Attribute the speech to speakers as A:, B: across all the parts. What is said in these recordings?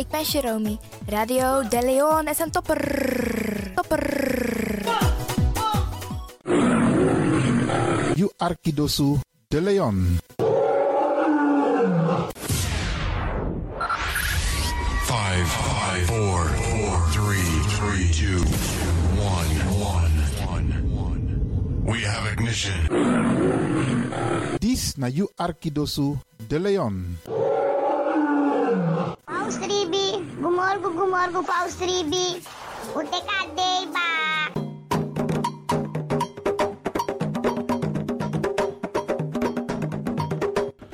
A: ik ben Jerome. Radio De Leon is een topper. Topper.
B: You Arkidosu de Leon.
C: Five, five, four, four, three, three, two, one, one, one. We have ignition.
B: This na You Arkidosu de Leon.
D: Paus ribi, gumorgu gumorgu paus ribi. Ute kadei ba.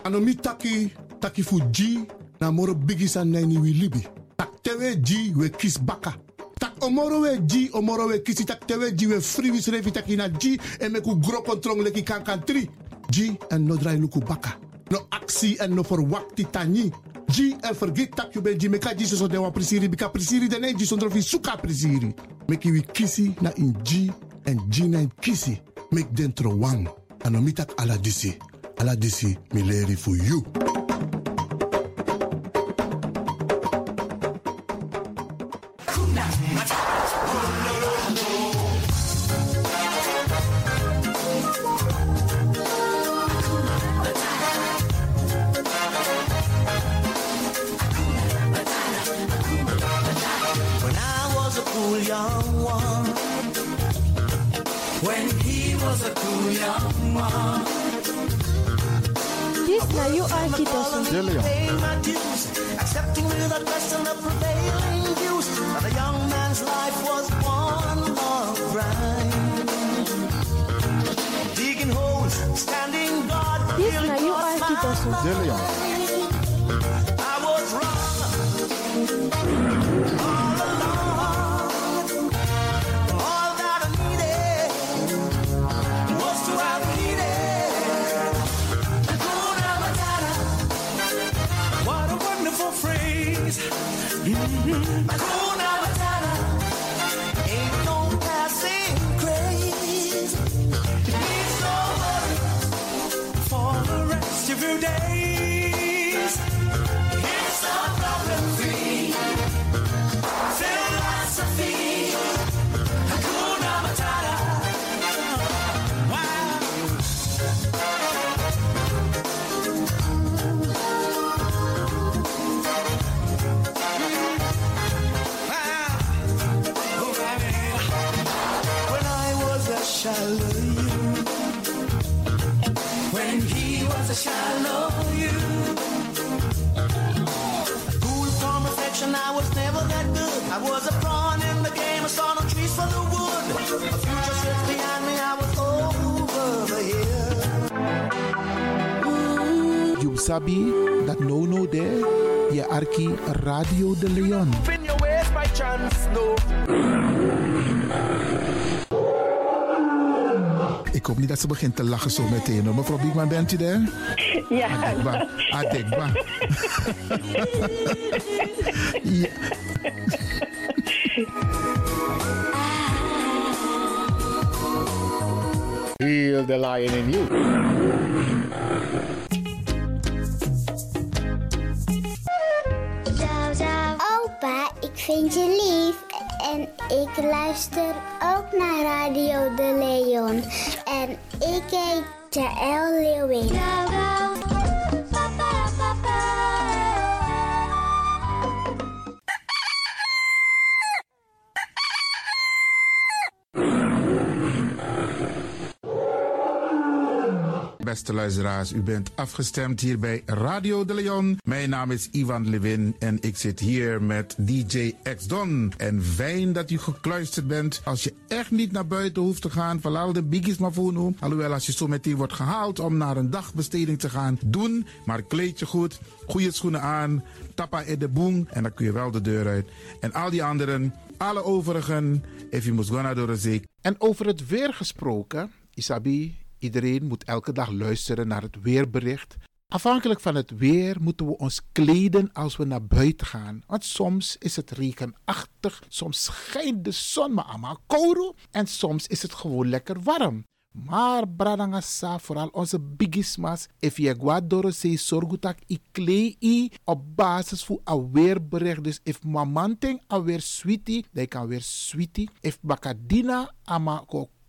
E: ano mi taki taki fu ji na moro bigi san naini wi libi tak tewe ji we kis baka tak omoro we ji omoro we kisi tak tewe ji we free wi srevi taki na ji e meku gro kontrong leki kankan tri ji en no drai luku baka no aksi en no for wakti tani ji en forget tak yu be ji meka ji soso dewa prisiri bika prisiri dene ji sondro fi suka prisiri meki wi kisi na in ji en ji na in kisi mek dentro wang ano mi tak ala disi ala disi mi leri fu yu
F: When I was a cool young one. When he was a cool young one.
G: This na you are Kitosu.
B: De Leon.
F: Paying my dues, accepting without question the prevailing views. But a young man's life was one long grind. Digging holes, standing guard.
G: This
F: feeling
G: na you
F: for a
G: are
F: smile.
G: Kitosu.
B: De Leon.
F: I was wrong. All along, all that I needed was to have needed. Hakuna Matata. What a wonderful phrase. Mm-hmm. Hakuna Matata. Ain't no passing craze. It's over for the rest of your days. It's a problem free philosophy. Hakuna Matata. Wow. Wow. Oh, baby. When I was a Shallow you, when he was a shallow you. Cool from reflection, I was never that good. I was a pawn in the game, I saw no trees for the wood. A future sits behind me, I was over the hill.
B: You sabi that no no there. You Arki Radio de Leon.
F: In your ways by chance, no.
B: Ik hoop niet dat ze begint te lachen zo meteen. hoor. Mevrouw Biekman, bent u daar? ah,
H: Ja,
B: Adekba. Adekba. ja.
I: Feel the lion in you.
D: Zou, zou. Opa, ik vind je lief. En ik luister ook naar Radio De Leon. En ik heet Jaël Leeuwen.
B: Beste luisteraars, u bent afgestemd hier bij Radio de Leon. Mijn naam is Ivan Levin en ik zit hier met DJ X-Don. En fijn dat u gekluisterd bent. Als je echt niet naar buiten hoeft te gaan, verlaal de biggies maar voor nu. Alhoewel, als je zo meteen wordt gehaald om naar een dagbesteding te gaan, doen. Maar kleed je goed, goede schoenen aan, tappa in de boem en dan kun je wel de deur uit. En al die anderen, alle overigen, if you must go naar de zee. En over het weer gesproken, Isabi, Iedereen moet elke dag luisteren naar het weerbericht. Afhankelijk van het weer moeten we ons kleden als we naar buiten gaan. Want soms is het regenachtig, soms schijnt de zon maar allemaal kouro en soms is het gewoon lekker warm.
H: Maar bradanga sa vooral onze bigismas. If je guadoro se sorgutak i klei i op basis voor aweerbericht. Dus if mamanting aweer sweetie, dan kan weer sweetie. If bakadina ama ko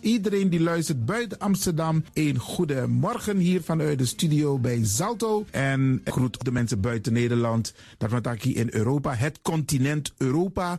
B: Iedereen die luistert buiten Amsterdam, een goede morgen hier vanuit de studio bij Zalto. En ik groet de mensen buiten Nederland, dat we het hier in Europa, het continent Europa.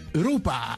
B: Europa.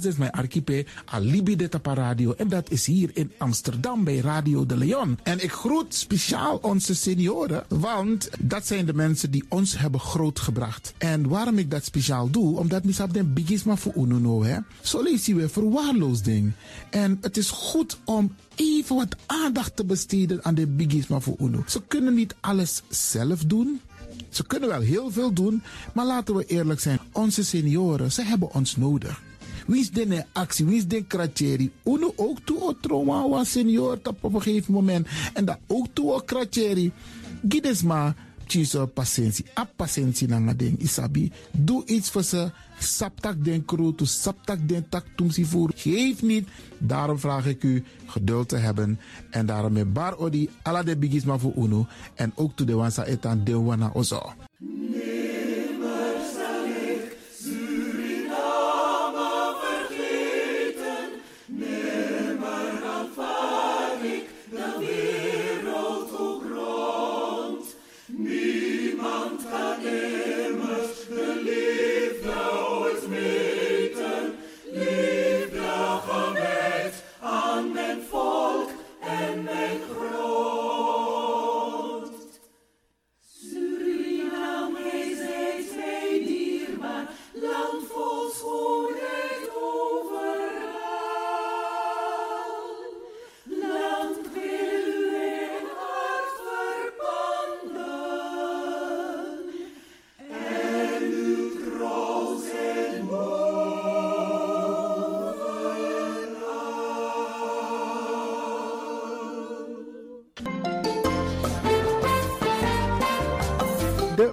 B: dus mijn archipel Alibi de Tapa Radio. En dat is hier in Amsterdam bij Radio de Leon. En ik groet speciaal onze senioren, want dat zijn de mensen die ons hebben grootgebracht. En waarom ik dat speciaal doe, omdat misap den bigisma voor Ununo, hè. Zo lezen we verwaarloosding. En het is goed om even wat aandacht te besteden aan de bigisma voor Uno. Ze kunnen niet alles zelf doen. Ze kunnen wel heel veel doen, maar laten we eerlijk zijn. Onze senioren, ze hebben ons nodig. Wins den actie, wins den kratjeri. Uno ook toe o trauma wa senior tap op een gegeven moment. En dat ook toe o kratjeri. Gides maar, tjiso patiëntie. A patiëntie na ding, isabi. Doe iets voor ze. Saptak den kroto, saptak den tak tumsi voer. Geef niet. Daarom vraag ik u geduld te hebben. En daarom met bar odi, ala de bigisma voor uno. En ook toe de wansa etan de wana ozo. De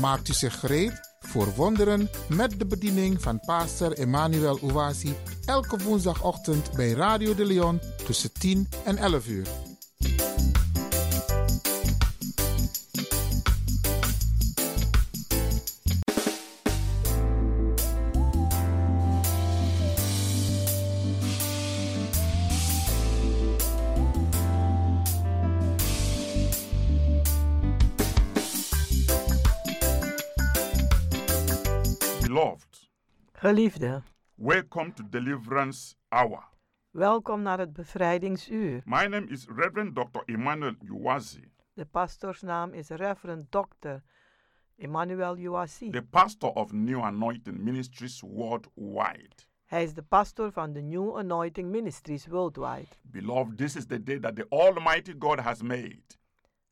H: Maakt u zich gereed voor wonderen met de bediening van pastor Emmanuel Owasi elke woensdagochtend bij Radio de Leon tussen 10 en 11 uur.
J: Beloved,
K: Geliefde,
J: welcome to Deliverance Hour.
K: welkom naar het bevrijdingsuur.
J: My name is Reverend Dr. Emmanuel Uwazi,
K: De pastorsnaam is Reverend Dr. Emmanuel Uwasi.
J: the pastor of New Anointing Ministries worldwide.
K: Hij is de pastor van de New Anointing Ministries Worldwide.
J: Beloved, this is the day that the Almighty God has made.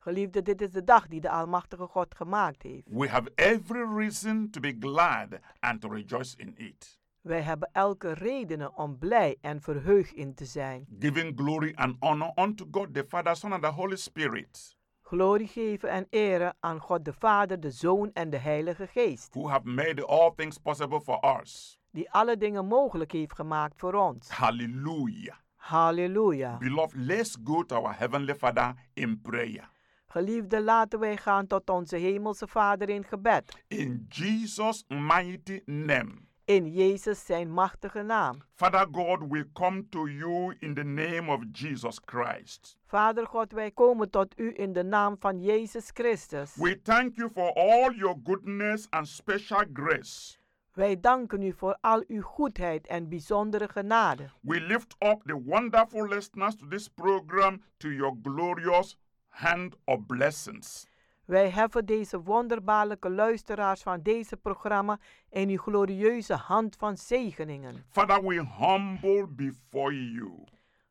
K: Geliefde, dit is de dag die de Almachtige God gemaakt heeft.
J: We have every reason to be glad and to rejoice in it,
K: Wij hebben elke redenen om blij en verheugd in te zijn.
J: giving glory and honor unto God the Father, Son, and the Holy Spirit,
K: Glorie geven en eren aan God de Vader, de Zoon en de Heilige Geest,
J: who have made all things possible for us.
K: die alle dingen mogelijk heeft gemaakt voor ons.
J: Hallelujah.
K: Halleluja.
J: Beloved, let's go to our Heavenly Father in prayer.
K: Geliefde, laten wij gaan tot onze Hemelse Vader in gebed.
J: In Jesus' mighty name.
K: In Jezus zijn machtige naam.
J: Father God, we come to you in the name of Jesus Christ.
K: Vader God, wij komen tot u in de naam van Jezus Christus.
J: We thank you for all your goodness and special grace.
K: Wij danken u voor al uw goedheid en bijzondere genade.
J: We lift up the wonderful listeners to this program to your glorious hand of blessings.
K: Wij heffen deze wonderbaarlijke luisteraars van deze programma in uw glorieuze hand van zegeningen.
J: Father, we humble before you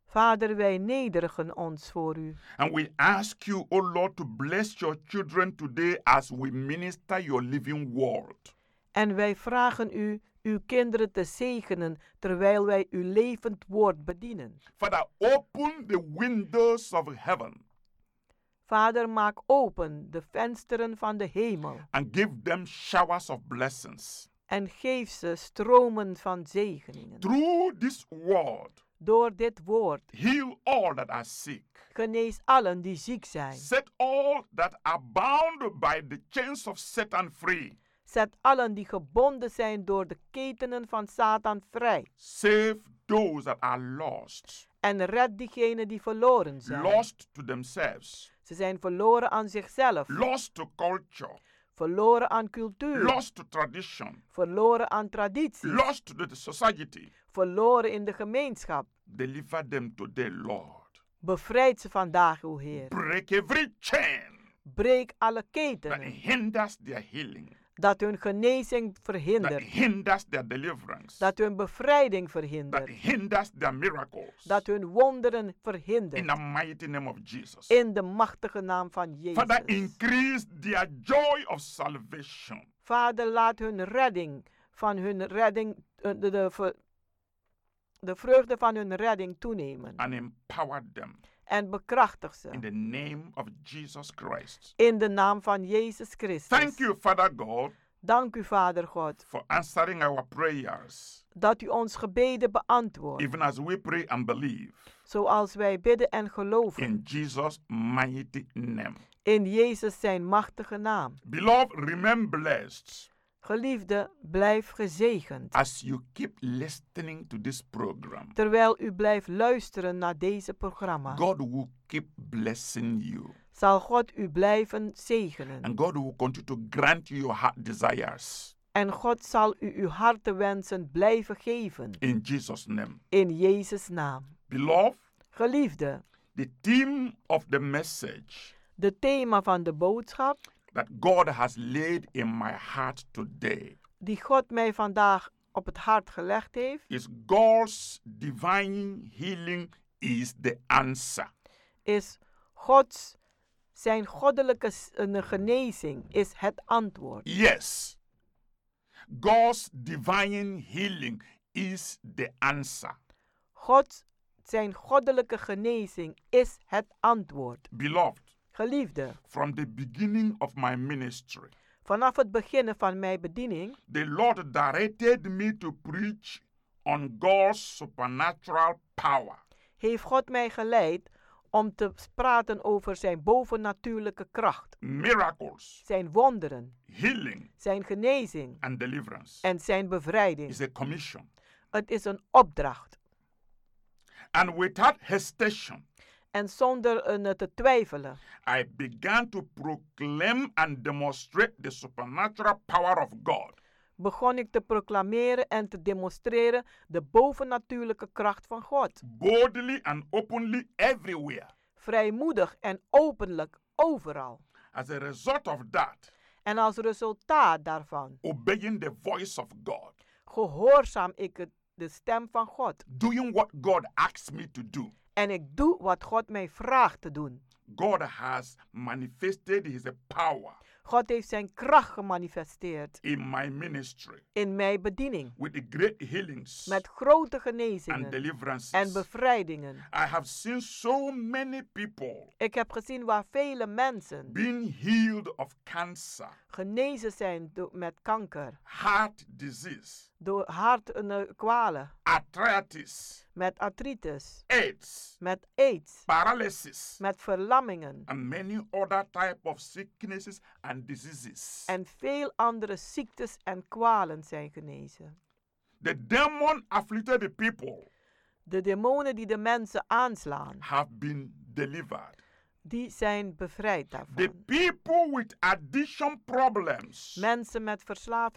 K: Vader, wij nederigen ons voor u.
J: and we ask you, O Lord, to bless your children today as we minister your living word.
K: En wij vragen u uw kinderen te zegenen terwijl wij uw levend woord bedienen.
J: Father, open the windows of heaven
K: Vader, maak open de vensteren van de hemel
J: and give them showers of blessings.
K: en geef ze stromen van zegeningen.
J: Through this word,
K: Door dit woord
J: heal all that are sick.
K: genees allen die ziek zijn.
J: Set all that are bound by the chains of Satan free.
K: Zet allen die gebonden zijn door de ketenen van Satan vrij.
J: Save those that are lost,
K: En red diegenen die verloren zijn.
J: lost to themselves,
K: Ze zijn verloren aan zichzelf,
J: lost to culture,
K: verloren aan cultuur,
J: lost to tradition,
K: verloren aan tradities,
J: lost to the society.
K: verloren in de gemeenschap.
J: Deliver them today, Lord.
K: Bevrijd ze vandaag, o Heer.
J: Break every chain
K: Breek alle
J: that
K: ketenen
J: hinders their healing,
K: dat hun genezing
J: that
K: verhindert,
J: hinders their deliverance,
K: dat hun bevrijding
J: that
K: verhindert,
J: hinders their miracles.
K: dat hun wonderen
J: In the
K: verhindert.
J: mighty name of Jesus.
K: In de machtige naam van
J: Father,
K: Jezus.
J: increase their joy of salvation.
K: Vader, laat hun redding van hun redding, eh, de, de, ver- de vreugde van hun redding toenemen.
J: and empower them
K: En bekrachtig
J: in
K: ze.
J: the name of Jesus Christ.
K: In de naam van Jezus Christus.
J: Thank you, Father God,
K: Dank u, Vader God,
J: for answering our prayers,
K: dat u ons gebeden beantwoordt.
J: even as we pray and believe.
K: Zoals wij bidden en geloven.
J: In Jesus' mighty name.
K: In Jezus zijn machtige naam.
J: Beloved, remain blessed
K: Geliefde, blijf gezegend.
J: as you keep listening to this program.
K: Terwijl u blijft luisteren naar deze programma,
J: God will keep blessing you,
K: zal God u blijven zegenen.
J: and God will continue to grant you your heart desires.
K: En God zal u uw hartewensen blijven geven.
J: In Jesus' name.
K: In Jezus' naam.
J: Beloved,
K: Geliefde,
J: the theme of the message
K: de thema van de boodschap
J: that God has laid in my heart today
K: die God mij vandaag op het hart gelegd heeft,
J: is God's divine healing is the answer.
K: is Gods Zijn goddelijke s- eh, genezing is het antwoord.
J: Yes. God's divine healing is the answer.
K: God, zijn goddelijke genezing is het antwoord.
J: Beloved,
K: Geliefde,
J: from the beginning of my ministry,
K: vanaf het beginnen van mijn bediening
J: the Lord directed me to preach on God's supernatural power.
K: heeft God mij geleid om te praten over zijn bovennatuurlijke kracht,
J: Miracles,
K: zijn wonderen,
J: healing,
K: zijn genezing
J: and deliverance
K: en zijn bevrijding.
J: is a commission.
K: Het is een opdracht.
J: And without hesitation,
K: En zonder eh, te twijfelen
J: I began to proclaim and demonstrate the supernatural power of God.
K: begon ik te proclameren en te demonstreren de bovennatuurlijke kracht van God.
J: boldly and openly everywhere.
K: Vrijmoedig en openlijk overal.
J: As a result of that,
K: En als resultaat daarvan
J: obeying the voice of God,
K: gehoorzaam ik het- de stem van God.
J: doing what God asks me to do,
K: En ik doe wat God mij vraagt te doen.
J: God has manifested His power
K: God heeft zijn kracht gemanifesteerd
J: in my ministry
K: in mijn bediening.
J: with the great healings
K: Met grote
J: and
K: genezingen
J: deliverances.
K: en bevrijdingen.
J: I have seen so many people
K: Ik heb gezien waar vele mensen
J: being healed of cancer,
K: genezen zijn do- met kanker,
J: heart disease,
K: door hart- en, eh, kwalen,
J: arthritis,
K: met artritis,
J: AIDS,
K: met aids,
J: paralysis,
K: met verlammingen
J: and many other type of sicknesses and diseases.
K: en veel andere ziektes en kwalen zijn genezen.
J: The demon afflicted people
K: De demonen die de mensen aanslaan,
J: have been delivered.
K: die zijn bevrijd
J: The
K: daarvan.
J: people with addiction problems
K: Mensen met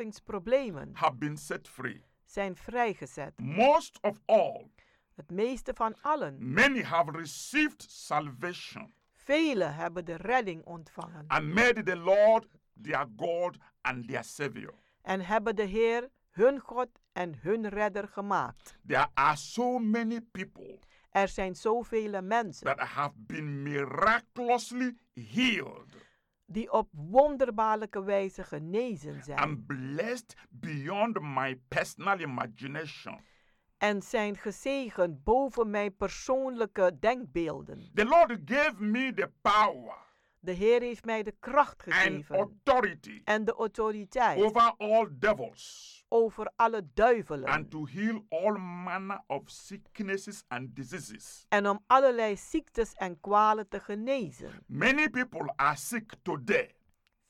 K: verslavingsproblemen
J: have been set free.
K: zijn vrijgezet.
J: Most of all,
K: Het meeste van allen.
J: many have received salvation
K: Velen hebben de redding ontvangen
J: and made the Lord their God and their Savior.
K: en hebben de Heer hun God en hun redder gemaakt.
J: There are so many people
K: Er zijn zoveel mensen
J: that have been miraculously healed
K: die op wonderbaarlijke wijze genezen zijn
J: and blessed beyond my personal imagination.
K: en zijn gezegend boven mijn persoonlijke denkbeelden.
J: The Lord gave me the power
K: De Heer heeft mij de kracht
J: and
K: gegeven
J: authority
K: en de autoriteit
J: over all devils
K: over alle
J: and
K: duivelen
J: to heal all manner of sicknesses and diseases.
K: en om allerlei ziektes en kwalen te genezen.
J: Many people are sick today,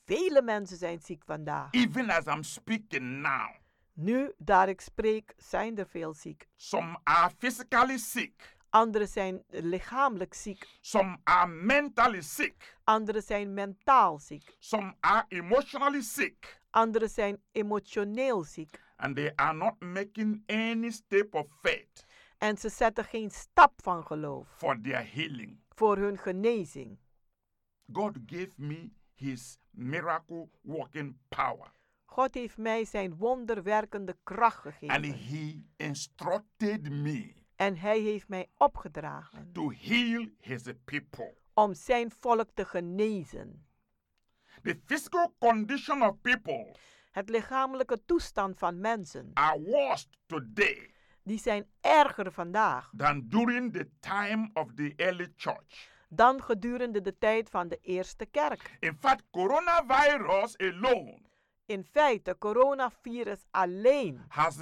K: Vele mensen zijn ziek vandaag.
J: even as I'm speaking now.
K: Nu, daar ik spreek, zijn er veel ziek.
J: Some are physically sick,
K: Anderen zijn lichamelijk ziek.
J: some are mentally sick,
K: Anderen zijn mentaal ziek.
J: some are emotionally sick,
K: Anderen zijn emotioneel ziek.
J: and they are not making any step of faith
K: En ze zetten geen stap van geloof
J: for their healing.
K: voor hun genezing.
J: God gave me his miracle working power.
K: God heeft mij zijn wonderwerkende kracht
J: And
K: gegeven.
J: he instructed me
K: En hij heeft mij opgedragen
J: to heal his people.
K: om zijn volk te genezen.
J: The physical condition of people
K: Het lichamelijke toestand van mensen,
J: are worse today
K: die zijn erger vandaag
J: than during the time of the early church.
K: dan gedurende de tijd van de eerste kerk.
J: In fact, coronavirus alone
K: In feite, coronavirus alleen
J: has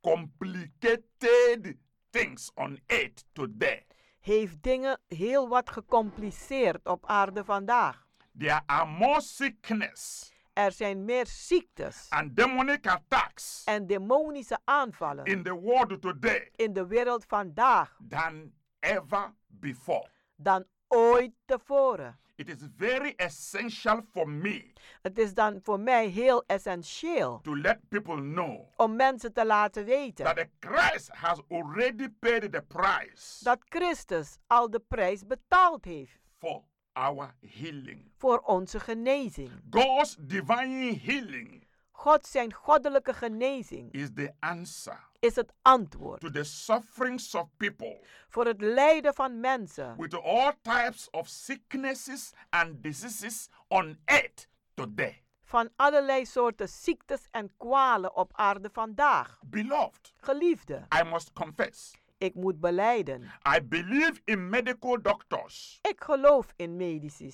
J: complicated things on earth today.
K: heeft dingen heel wat gecompliceerd op aarde vandaag.
J: There are more sickness
K: Er zijn meer ziektes
J: and demonic attacks
K: en demonische aanvallen
J: in the world today
K: in de wereld vandaag
J: than ever before.
K: dan ooit tevoren.
J: It is very essential for me
K: Het is dan voor mij heel essentieel
J: to let people know
K: om mensen te laten
J: that
K: weten
J: the Christ has already paid the price
K: dat Christus al de prijs betaald heeft
J: for our healing.
K: voor onze genezing.
J: God's divine healing
K: God zijn goddelijke genezing
J: is the answer
K: is het antwoord
J: to the sufferings of people
K: voor het lijden van mensen
J: with all types of sicknesses and diseases on earth today.
K: van allerlei soorten ziektes en kwalen op aarde vandaag.
J: Beloved,
K: Geliefde,
J: I must confess,
K: ik moet beleiden.
J: I believe in medical doctors.
K: Ik geloof in medici.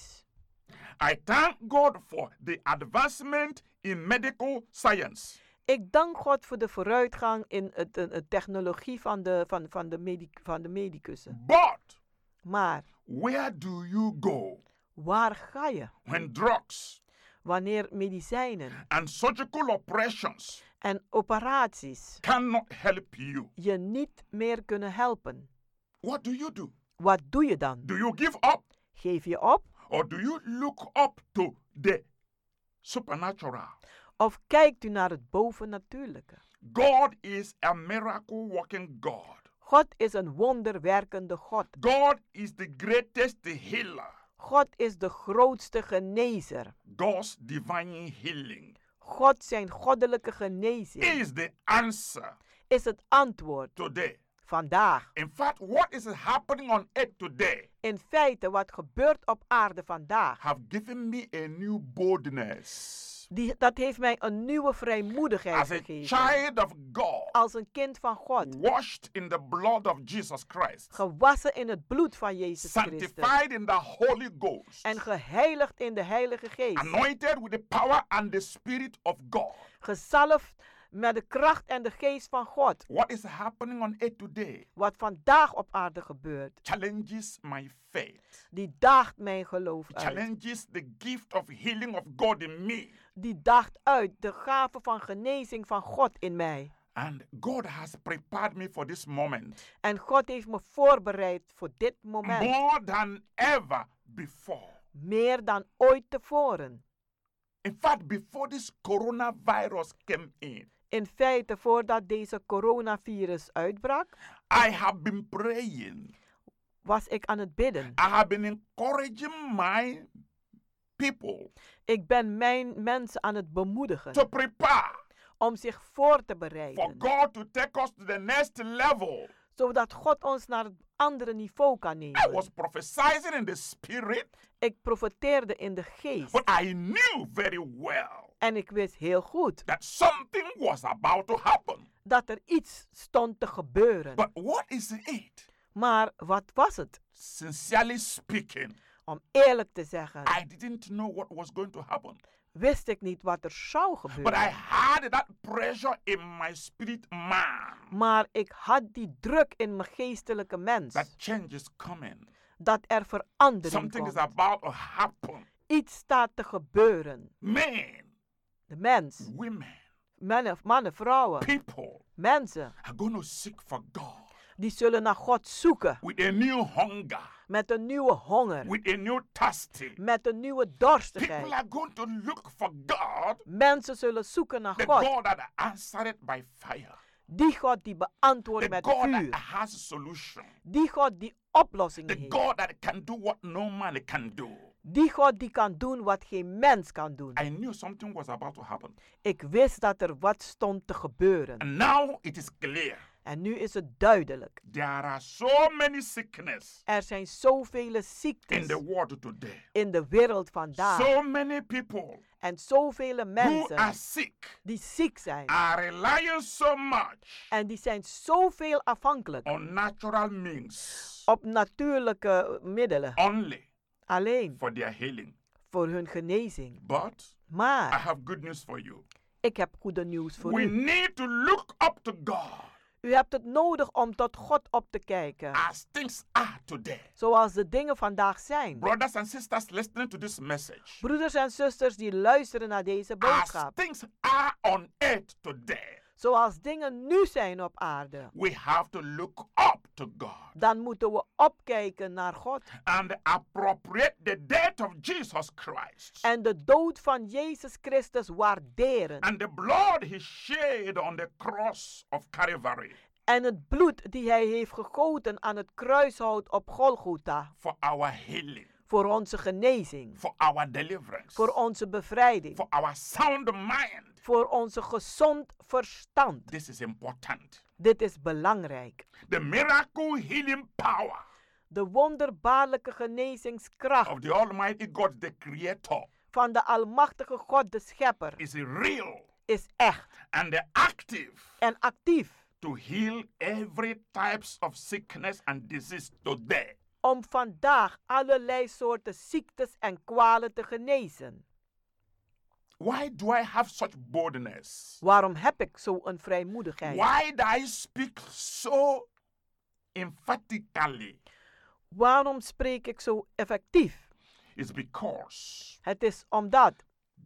J: I thank God for the advancement in medical science.
K: Ik dank God voor de vooruitgang in het- de de technologie van de, van, van de, medi- van de medicussen.
J: But
K: Maar
J: where do you go
K: waar ga je
J: when drugs
K: wanneer medicijnen
J: and surgical operations
K: en operaties
J: cannot help you?
K: je niet meer kunnen helpen?
J: What do you do?
K: Wat doe je dan?
J: Do you give up
K: Geef je op
J: or do you look up to the supernatural?
K: of kijkt u naar het bovennatuurlijke?
J: God is a miracle working God.
K: God is een wonderwerkende God.
J: God is the greatest healer.
K: God is de grootste genezer.
J: God's divine healing
K: God zijn goddelijke genezing
J: is the answer
K: is het antwoord
J: today.
K: vandaag.
J: In fact, what is happening on earth today
K: In feite wat gebeurt op aarde vandaag,
J: have given me a new boldness.
K: die, dat heeft mij een nieuwe vrijmoedigheid
J: As a
K: gegeven.
J: child of God,
K: Als een kind van Oh, God,
J: washed in the blood of Jesus Christ,
K: gewassen in het bloed van Jezus Christus
J: sanctified in the Holy Ghost,
K: en geheiligd in de Heilige Geest,
J: anointed with the power and the Spirit of God.
K: gezalfd met de kracht en de geest van God.
J: What is happening on earth today
K: Wat vandaag op aarde gebeurt,
J: challenges my faith,
K: die daagt mijn geloof uit.
J: challenges the gift of healing of God in me.
K: die daagt uit de gave van genezing van God in mij.
J: And God has prepared me for this moment
K: En God heeft me voorbereid voor dit moment.
J: more than ever before.
K: Meer dan ooit tevoren.
J: In fact, before this coronavirus came in,
K: In feite, voordat deze coronavirus uitbrak,
J: I have been praying.
K: was ik aan het bidden.
J: I have been encouraging my people
K: Ik ben mijn mensen aan het
J: to
K: bemoedigen
J: prepare
K: om zich voor te
J: for
K: bereiden.
J: God to take us to the next level.
K: Zodat God ons naar het andere niveau kan
J: I
K: nemen.
J: was prophesizing in the spirit,
K: Ik profeteerde in de
J: but
K: geest.
J: I knew very well
K: En ik wist heel goed
J: that something was about to happen.
K: dat er iets stond te gebeuren.
J: But what is it?
K: Maar wat was het?
J: Sincerely speaking,
K: Om eerlijk te zeggen,
J: I didn't know what was going to happen.
K: wist ik niet wat er zou
J: But I
K: gebeuren.
J: had that pressure in my spirit man
K: Maar ik had die druk in mijn geestelijke
J: that
K: mens
J: change is coming.
K: dat er verandering
J: Something is
K: komt.
J: about to happen.
K: Iets staat te gebeuren.
J: Men,
K: De mens,
J: women,
K: mannen, mannen vrouwen,
J: people
K: mensen,
J: are going to seek for God
K: die zullen naar God zoeken
J: with a new hunger,
K: met een nieuwe honger,
J: with a new thirsty.
K: met een nieuwe
J: People
K: dorstigheid.
J: are going to look for God,
K: Mensen zullen zoeken naar
J: the
K: God,
J: God that answered by fire,
K: die God die
J: the
K: beantwoordt met
J: God that
K: vuur,
J: has solution,
K: die God die oplossing
J: the
K: heeft,
J: God that can do what no man can do.
K: die God die kan doen wat geen mens kan doen.
J: I knew something was about to happen.
K: Ik wist dat er wat stond te gebeuren.
J: And now it is clear.
K: En nu is het duidelijk.
J: There are so many sickness
K: Er zijn zoveel
J: in
K: ziektes
J: the world today.
K: in de wereld vandaag.
J: So many people
K: En zoveel
J: who are Ah.
K: mensen
J: sick
K: die ziek zijn.
J: are relying so much
K: En die zijn zoveel afhankelijk
J: on natural means
K: op natuurlijke middelen.
J: only
K: Alleen
J: for their healing.
K: voor hun genezing.
J: But I
K: Maar
J: have good news for you.
K: ik heb goede nieuws voor
J: We
K: u.
J: need to look up to God
K: U hebt het nodig om tot God op te kijken.
J: as things are today.
K: Zoals de dingen vandaag zijn.
J: Brothers and sisters listening to this message,
K: Broeders en zusters die luisteren naar deze
J: as
K: boodschap.
J: things are on earth today,
K: Zoals dingen nu zijn op aarde.
J: we have to look up to God.
K: dan moeten we opkijken naar God
J: and appropriate the death of Jesus Christ
K: en de dood van Jezus Christus waarderen.
J: and the blood he shed on the cross of Calvary
K: En het bloed die hij heeft gegoten aan het kruishout op Golgotha
J: for our healing.
K: Voor onze genezing.
J: for our deliverance,
K: Voor onze bevrijding.
J: for our sound mind.
K: Voor onze gezond verstand.
J: This is important.
K: Dit is belangrijk.
J: The miracle healing power
K: De wonderbaarlijke genezingskracht
J: of the Almighty God, the Creator,
K: van de Almachtige God, de Schepper,
J: is real
K: is echt
J: and active
K: en actief
J: to heal every types of sickness and disease today.
K: om vandaag allerlei soorten ziektes en kwalen te genezen.
J: Why do I have such boldness?
K: Waarom heb ik zo'n vrijmoedigheid?
J: Why do I speak so emphatically?
K: Waarom spreek ik zo effectief?
J: It's because
K: Het is omdat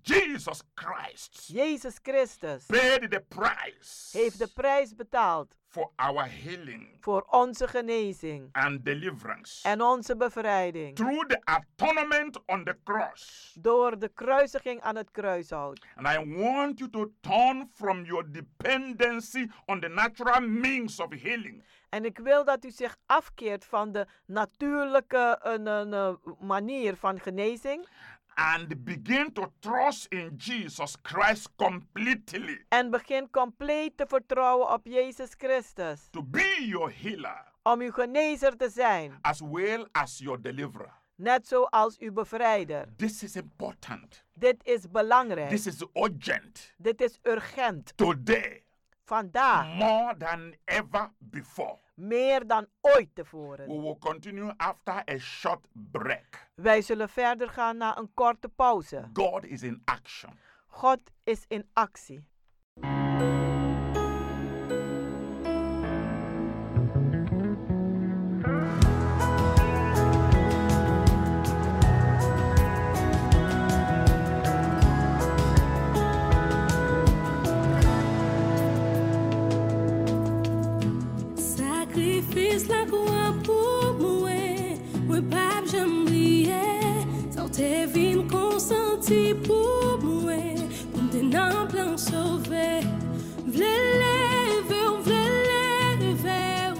J: Jesus Christ
K: Jezus Christus
J: paid the price
K: heeft de prijs betaald
J: for our healing
K: voor onze genezing
J: and deliverance
K: en onze bevrijding
J: through the atonement on the cross.
K: door de kruisiging aan het kruishout.
J: And I want you to turn from your dependency on the natural means of healing
K: En ik wil dat u zich afkeert van de natuurlijke een, een, eh, manier van genezing
J: and begin to trust in Jesus Christ completely
K: en begin compleet te vertrouwen op Jezus Christus
J: to be your healer
K: om uw genezer te zijn,
J: as well as your deliverer.
K: net zoals uw bevrijder.
J: This is important.
K: Dit is belangrijk.
J: This is urgent
K: Dit is urgent.
J: today
K: Vandaag
J: more than ever before.
K: meer dan ooit
J: We
K: tevoren.
J: will continue after a short break.
K: Wij zullen verder gaan na een korte pauze.
J: God is in action.
K: God is in actie.
L: Sakrifis la kwa pou mwen, mwen pap jam blye. Sa ou te vin konsanti pou mwen, pou mte nan plan sove. Vle leve ou vle leve ou,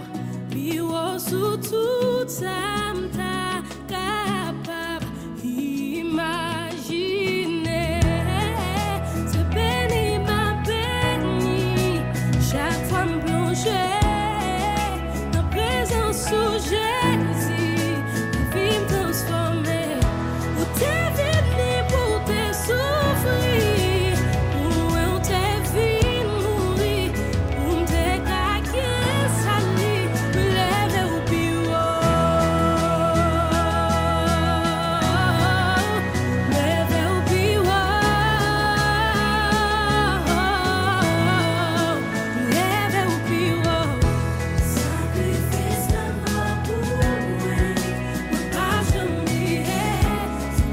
L: bi ou sou tout sa mta kapab imagine. Se beni ma beni, chak fwa m plonje. Na prezans sou Jezi, la vi m transforme. Ou te vini pou te soufri, ou eu te vin mouri, ou m te kake sali, me leve ou biwo. Leve ou biwo. Leve ou biwo. Sacrifice la mwa pou mwen, mwen pa jom liye.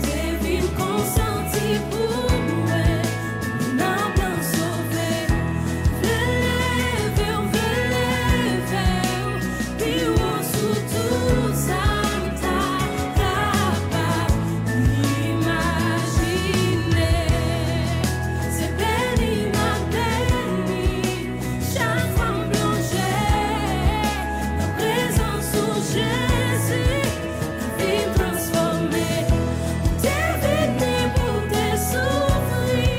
L: Se vin konsanti pou mwen, mwen nan plan sove. Vle leve ou vle leve ou, pi ou sou tout sa mta kapab imagine. Se beni ma beni, chan fam blonje Na prezans ou jesi, la vim transforme Te vini pou te soufri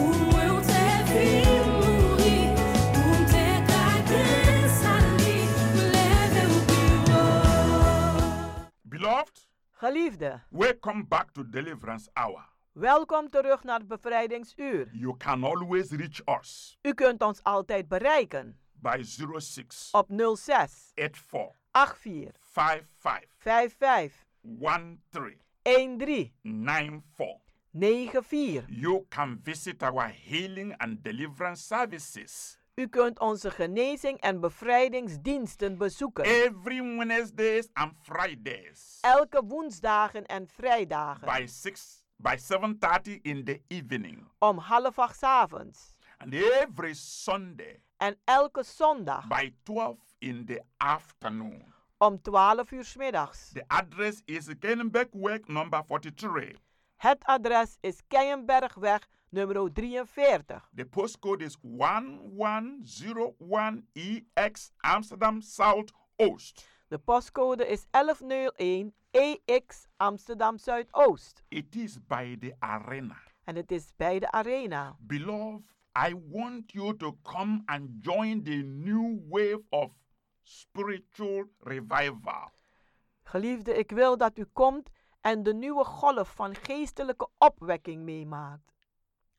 L: Ou mwen te vim mouri Ou mte kage sali, mleve ou biwo
J: Beloved,
K: Geliefde,
J: welcome back to Deliverance Hour.
K: welkom terug naar het bevrijdingsuur.
J: You can always reach us
K: U kunt ons altijd bereiken
J: by 06
K: op 06
J: 84
K: 84
J: 55
K: 55
J: 13
K: 13
J: 94.
K: 94.
J: You can visit our healing and deliverance services
K: U kunt onze genezing en bevrijdingsdiensten bezoeken.
J: every Wednesdays and Fridays
K: Elke woensdagen en vrijdagen
J: by 6 by 7:30 in the evening
K: om half acht 's avonds.
J: and every Sunday
K: En elke zondag
J: by 12 in the afternoon.
K: om 12 uur 's middags.
J: The address is Kennebec Work number 43.
K: Het adres is Keienbergweg nummer 43.
J: The postcode is 1101EX Amsterdam E South Oost.
K: De postcode is 1101 EX E Amsterdam Zuidoost.
J: It is by the arena.
K: En het is bij de arena.
J: Beloved, I want you to come and join the new wave of spiritual revival.
K: Geliefde, ik wil dat u komt en de nieuwe golf van geestelijke opwekking meemaakt.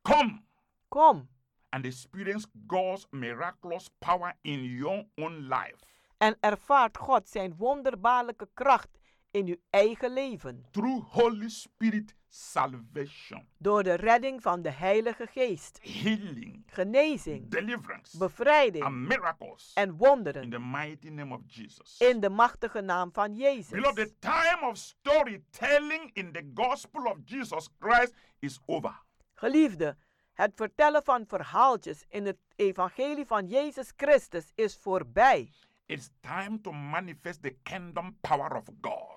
J: Come
K: Kom
J: and experience God's miraculous power in your own life.
K: en ervaart God zijn wonderbaarlijke kracht in uw eigen leven.
J: Through Holy Spirit salvation,
K: Door de redding van de Heilige Geest,
J: healing,
K: genezing,
J: deliverance,
K: bevrijding
J: and miracles
K: en
J: in
K: wonderen
J: the mighty name of Jesus.
K: in de machtige naam van Jezus.
J: Beloved, the time of storytelling in the gospel of Jesus Christ is over.
K: Geliefde, het vertellen van verhaaltjes in het evangelie van Jezus Christus is voorbij.
J: It's time to manifest the kingdom power of God.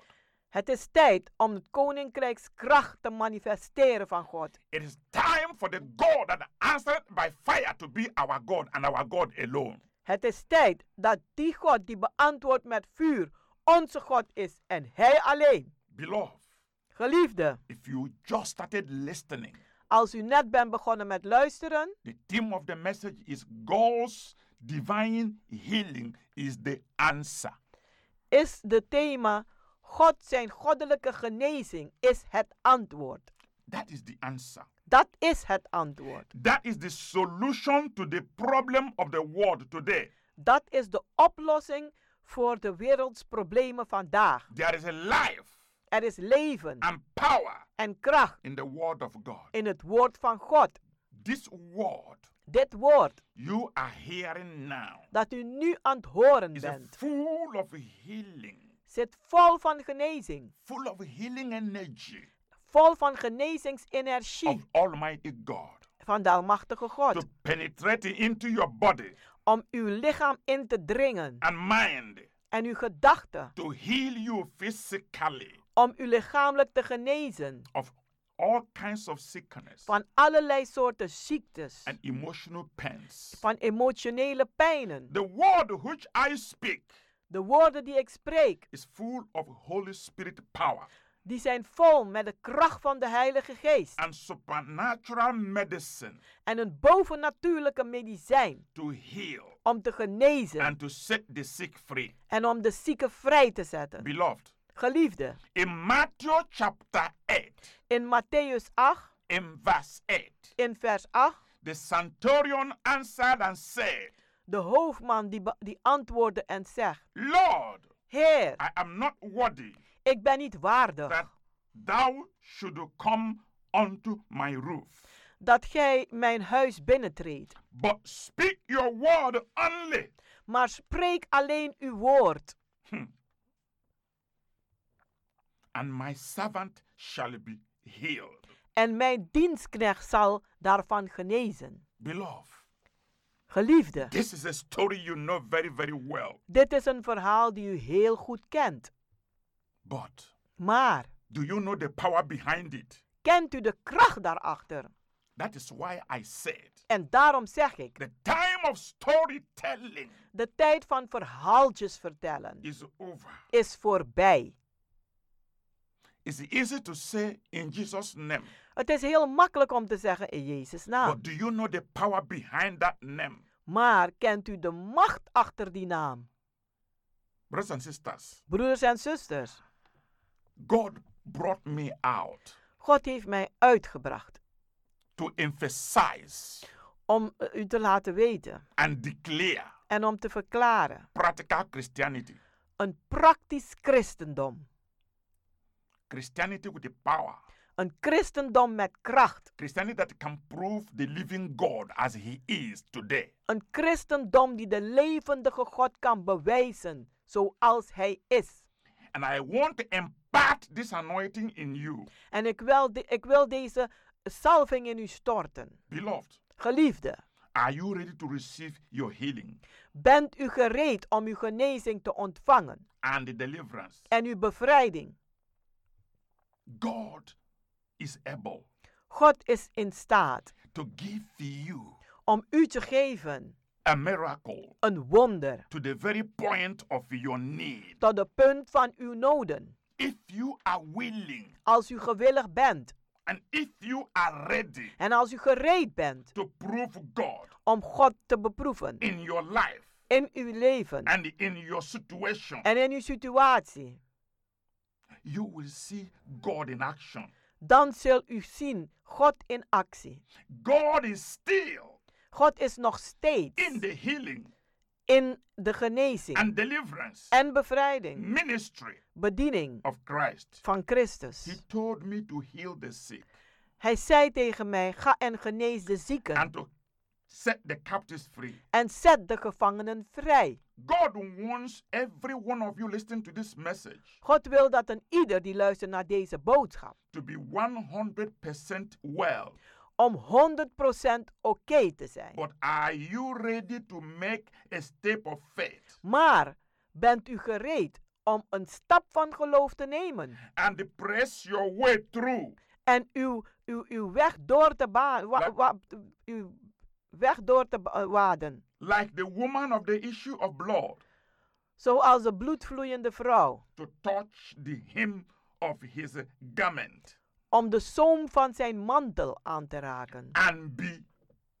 K: Het is tijd om het koninkrijkskracht te manifesteren van God.
J: It is time for the God that answered by fire to be our God and our God alone.
K: Het is tijd dat die God die beantwoordt met vuur onze God is en Hij alleen.
J: Beloved,
K: Geliefde,
J: if you just started listening,
K: als u net bent begonnen met luisteren,
J: the theme of the message is God's divine healing is the answer.
K: is de thema God zijn goddelijke genezing is het antwoord.
J: That is the answer.
K: Dat is het antwoord.
J: That is the solution to the problem of the world today.
K: Dat is de oplossing voor de wereldsproblemen vandaag.
J: There is a life
K: Er is leven
J: and power
K: en kracht
J: in the word of God.
K: in het woord van God.
J: This word
K: Dit woord
J: you are hearing now
K: dat u nu aan het horen
J: is a
K: bent,
J: full of healing,
K: zit vol van genezing,
J: full of healing energy
K: vol van
J: of
K: genezingsenergie
J: Almighty God
K: van de Almachtige God.
J: to penetrate into your body
K: Om uw lichaam in te dringen
J: and mind
K: en uw gedachten,
J: to heal you physically
K: om u lichamelijk te genezen
J: of all kinds of sickness
K: van allerlei soorten ziektes,
J: and emotional pains.
K: van emotionele pijnen.
J: The word which I speak
K: De woorden die ik spreek,
J: is full of Holy Spirit power
K: die zijn vol met de kracht van de Heilige Geest
J: and supernatural medicine
K: en een bovennatuurlijke medicijn
J: to heal
K: om te genezen
J: and to set the sick free.
K: en om de zieken vrij te zetten.
J: Beloved,
K: Geliefde,
J: in Matthew chapter 8,
K: in Matthäus 8,
J: in verse 8,
K: in vers 8,
J: the centurion answered and said,
K: de hoofdman die, be- die antwoordde en zegt,
J: Lord,
K: Heer,
J: I am not worthy
K: ik ben niet
J: that
K: waardig
J: thou should come unto my roof,
K: dat gij mijn huis binnentreedt,
J: but speak your word only,
K: maar spreek alleen uw woord
J: and my servant shall be healed.
K: en mijn dienstknecht zal daarvan genezen.
J: Beloved,
K: Geliefde,
J: this is a story you know very, very well,
K: dit is een verhaal die u heel goed kent,
J: but
K: maar
J: do you know the power behind it?
K: kent u de kracht daarachter?
J: That is why I said,
K: En daarom zeg ik,
J: the time of storytelling
K: de tijd van verhaaltjes vertellen
J: is over.
K: is voorbij.
J: It's easy to say in Jesus' name,
K: Het is heel makkelijk om te zeggen in Jezus' naam.
J: but do you know the power behind that name?
K: Maar kent u de macht achter die naam?
J: Brothers and sisters,
K: Broeders en zusters,
J: God brought me out
K: God heeft mij uitgebracht
J: to emphasize
K: om eh, u te laten weten
J: and declare
K: en om te verklaren
J: practical Christianity.
K: een praktisch christendom.
J: Christianity with the power.
K: Een christendom met kracht.
J: Christianity that can prove the living God as He is today.
K: Een christendom die de levendige God kan bewijzen zoals hij is.
J: And I want to impart this anointing in you,
K: En ik wil, de- ik wil deze salving in u storten.
J: beloved.
K: Geliefde,
J: Are you ready to receive your healing
K: bent u gereed om uw genezing te ontvangen
J: and the deliverance?
K: en uw bevrijding?
J: God is able
K: God is in staat
J: to give you
K: om u te geven
J: a miracle.
K: Een wonder.
J: To the very point of your need.
K: Tot de punt van uw noden.
J: If you are willing.
K: Als u gewillig bent.
J: And if you are ready.
K: En als u gereed bent.
J: To prove God.
K: Om God te beproeven.
J: In your life.
K: In uw leven.
J: And in your situation.
K: En in uw situatie.
J: You will see God in action.
K: Dan zult u zien God in actie.
J: God is still
K: God is nog steeds
J: in the healing
K: in de genezing
J: and deliverance
K: en bevrijding,
J: ministry
K: bediening
J: of Christ.
K: van Christus.
J: He told me to heal the sick
K: Hij zei tegen mij: Ga en genees de zieken
J: and to set the captives free.
K: en zet de gevangenen vrij.
J: God wants every one of you listening to this message
K: God wil dat een ieder die luistert naar deze boodschap
J: to be 100% well.
K: om 100% oké te zijn.
J: But are you ready to make a step of faith?
K: Maar bent u gereed om een stap van geloof te nemen
J: and press your way through
K: en uw, uw, uw weg door te baan, wa, wa- uw weg door te ba- waden,
J: like the woman of the issue of blood
K: zoals de bloedvloeiende vrouw,
J: to touch the hem of his garment
K: om de zoom van zijn mantel aan te raken
J: and be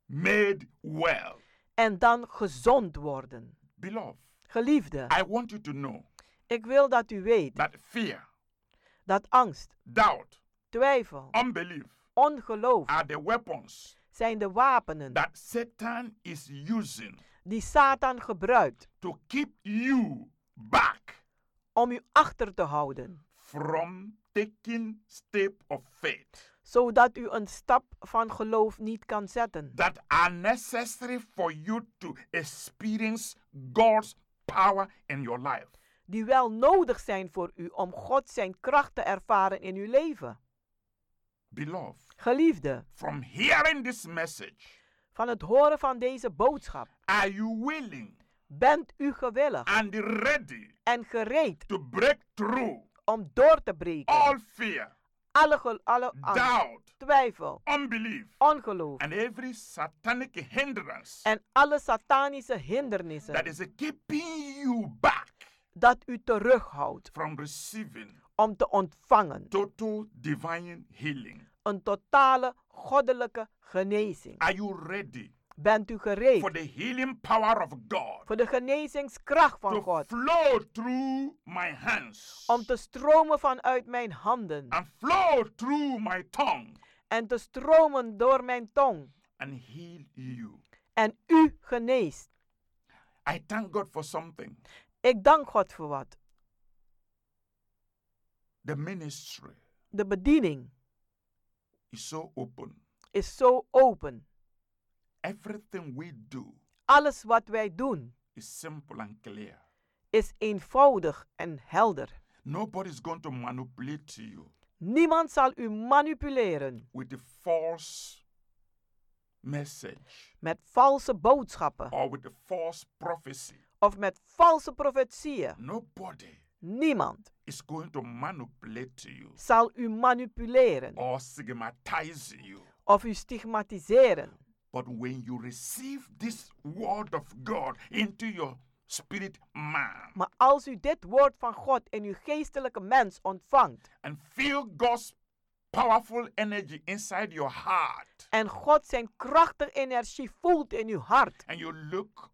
J: made well.
K: en dan gezond worden.
J: Beloved,
K: Geliefde,
J: I want you to know
K: ik wil dat u weet
J: that fear,
K: dat angst,
J: doubt,
K: twijfel,
J: unbelief
K: ongeloof
J: are the weapons
K: zijn de wapenen
J: that Satan is using
K: die Satan gebruikt
J: to keep you back
K: om u achter te houden,
J: from taking step of faith
K: zodat u een stap van geloof niet kan zetten,
J: that are necessary for you to experience God's power in your life.
K: die wel nodig zijn voor u om God zijn kracht te ervaren in uw leven.
J: Beloved,
K: Geliefde,
J: from hearing this message,
K: van het horen van deze boodschap,
J: are you willing
K: bent u gewillig
J: and ready
K: en gereed
J: to break through
K: om door te breken
J: all fear,
K: alle, gel- alle angst,
J: doubt,
K: twijfel,
J: unbelief,
K: ongeloof
J: and every satanic hindrance
K: en alle satanische hindernissen
J: that is keeping you back
K: dat u terughoudt
J: from receiving
K: om te ontvangen
J: total divine healing?
K: een totale goddelijke genezing.
J: Are you ready
K: Bent u gereed
J: for the healing power of God?
K: voor de genezingskracht van
J: to
K: God
J: flow through my hands
K: om te stromen vanuit mijn handen
J: and flow through my tongue
K: en te stromen door mijn tong
J: and heal you.
K: en u geneest.
J: I thank God for something.
K: Ik dank God voor wat.
J: The ministry
K: De bediening
J: is so open.
K: is zo open.
J: Everything we do
K: Alles wat wij doen
J: is simple and clear.
K: is eenvoudig en helder.
J: Nobody's going to manipulate you
K: Niemand zal u manipuleren
J: with a false message
K: met valse boodschappen
J: or with a false prophecy.
K: of met valse profetieën.
J: Nobody
K: Niemand
J: is going to manipulate you
K: zal u manipuleren
J: or stigmatize you.
K: of u stigmatiseren.
J: But when you receive this word of God into your spirit man
K: Maar als u dit woord van God in uw geestelijke mens ontvangt
J: and feel God's powerful energy inside your heart,
K: en God zijn krachtige energie voelt in uw hart
J: and you look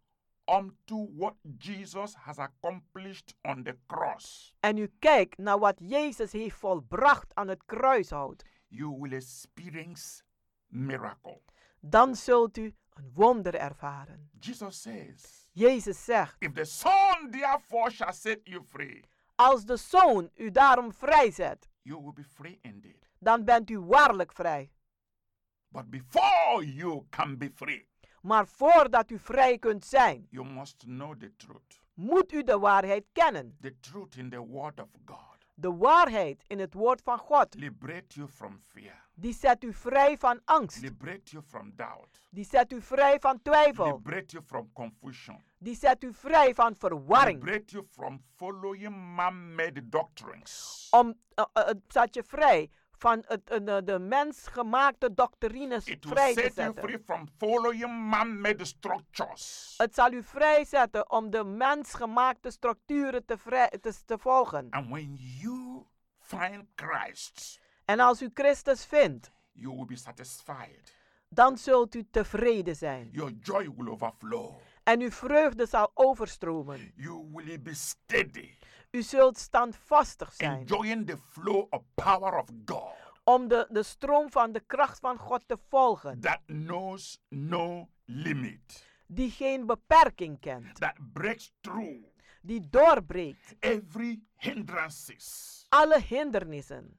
J: unto what Jesus has accomplished on the cross,
K: en u kijkt naar wat Jezus heeft volbracht aan het kruishout,
J: you will experience miracle.
K: dan zult u een wonder ervaren.
J: Jesus says,
K: Jezus zegt,
J: If the Son therefore shall set you free,
K: als de Zoon u daarom vrijzet,
J: you will be free indeed.
K: dan bent u waarlijk vrij.
J: But before you can be free,
K: Maar voordat u vrij kunt zijn,
J: you must know the truth.
K: moet u de waarheid kennen.
J: the truth in the word of God
K: De waarheid in het woord van God,
J: liberate you from fear
K: die zet u vrij van angst.
J: liberate you from doubt
K: Die zet u vrij van twijfel.
J: liberate you from confusion
K: Die zet u vrij van verwarring.
J: liberate you from following man-made doctrines
K: Om, eh, eh, het zet je vrij van het, eh, de, de mensgemaakte doctrines
J: It will
K: vrij te
J: set you
K: zetten.
J: free from following man-made structures
K: Het zal u vrijzetten om de mensgemaakte structuren te, vrij, te, te volgen.
J: And when you find Christ,
K: En als u Christus vindt,
J: you will be satisfied.
K: dan zult u tevreden zijn.
J: Your joy will overflow.
K: En uw vreugde zal overstromen.
J: You will be steady,
K: U zult standvastig zijn.
J: enjoying the flow of power of God
K: Om de, de stroom van de kracht van God te volgen.
J: that knows no limit,
K: Die geen beperking kent.
J: that breaks through
K: Die doorbreekt
J: every hindrances.
K: alle hindernissen.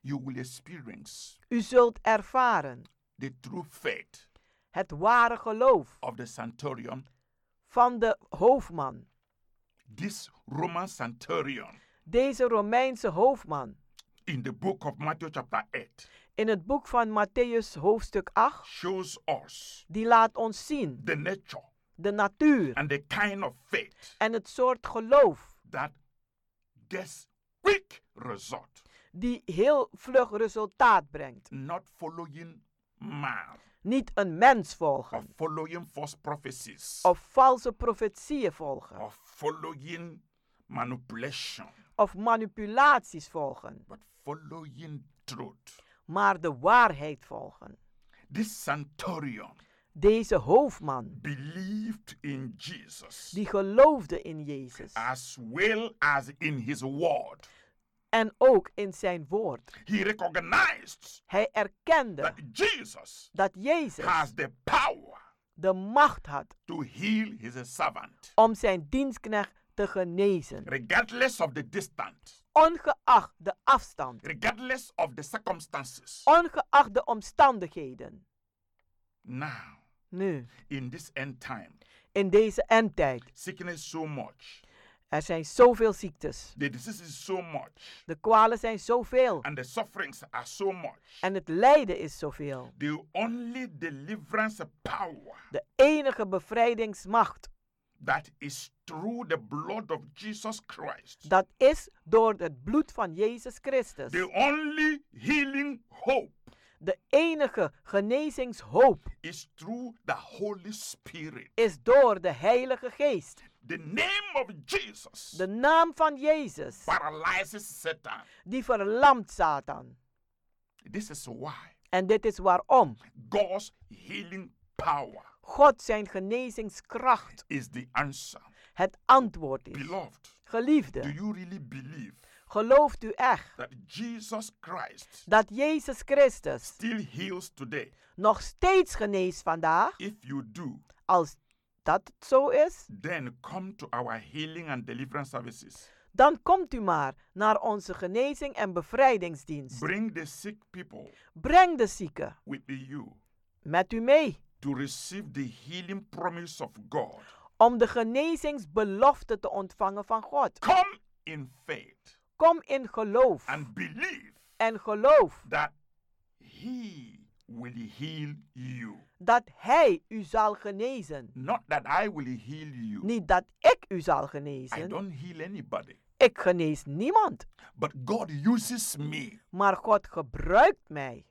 J: You will experience
K: U zult ervaren
J: the true faith
K: het ware geloof
J: of the centurion.
K: van de hoofdman.
J: This Roman centurion
K: Deze Romeinse hoofdman.
J: in the book of Matthew chapter 8
K: In het boek van Matthäus hoofdstuk 8.
J: shows us
K: Die laat ons zien
J: the nature
K: de natuur
J: and the kind of faith
K: en het soort geloof
J: that gets quick result,
K: die heel vlug resultaat brengt.
J: not following man
K: Niet een mens
J: or
K: volgen
J: following false prophecies
K: of valse profetieën volgen
J: or following manipulation,
K: of manipulaties volgen,
J: but following truth.
K: maar de waarheid volgen.
J: This centurion
K: Deze hoofdman
J: believed in Jesus
K: die geloofde in Jezus
J: as well as in his word.
K: en ook in zijn woord.
J: He recognized
K: Hij erkende
J: that Jesus
K: dat Jezus
J: has the power
K: de macht had
J: to heal his servant,
K: om zijn dienstknecht te genezen,
J: regardless of the distance,
K: ongeacht de afstand,
J: regardless of the circumstances.
K: ongeacht de omstandigheden.
J: Now,
K: Nu,
J: in this end time,
K: in deze endtijd,
J: sickness so much,
K: er zijn zoveel ziektes.
J: the disease is so much,
K: De kwalen zijn zoveel
J: and the sufferings are so much.
K: en het lijden is zoveel.
J: The only deliverance power
K: De enige bevrijdingsmacht,
J: that is through the blood of Jesus Christ,
K: dat is door het bloed van Jezus Christus.
J: the only healing hope
K: De enige genezingshoop
J: is through the Holy Spirit.
K: is door de Heilige Geest.
J: The name of Jesus
K: De naam van Jezus,
J: paralyzes Satan.
K: die verlamt Satan.
J: This is why
K: En dit is waarom
J: God's healing power
K: God zijn genezingskracht
J: is the answer.
K: het antwoord is.
J: Beloved, do
K: Geliefde,
J: you really believe
K: gelooft u echt
J: that Jesus Christ
K: dat Jezus Christus
J: still heals today?
K: nog steeds geneest vandaag?
J: If you do,
K: Als dat het zo is,
J: then come to our healing and deliverance services.
K: dan komt u maar naar onze genezing en bevrijdingsdienst.
J: Bring the sick people
K: Breng de zieke
J: with you
K: met u mee
J: to receive the healing promise of God.
K: om de genezingsbelofte te ontvangen van God.
J: Come in faith
K: Kom in geloof
J: and believe
K: en geloof
J: that He will heal you.
K: dat Hij u zal genezen.
J: Not that I will heal you.
K: Niet dat ik u zal
J: I
K: genezen.
J: don't heal anybody.
K: Ik genees niemand.
J: But God uses me.
K: Maar God gebruikt mij.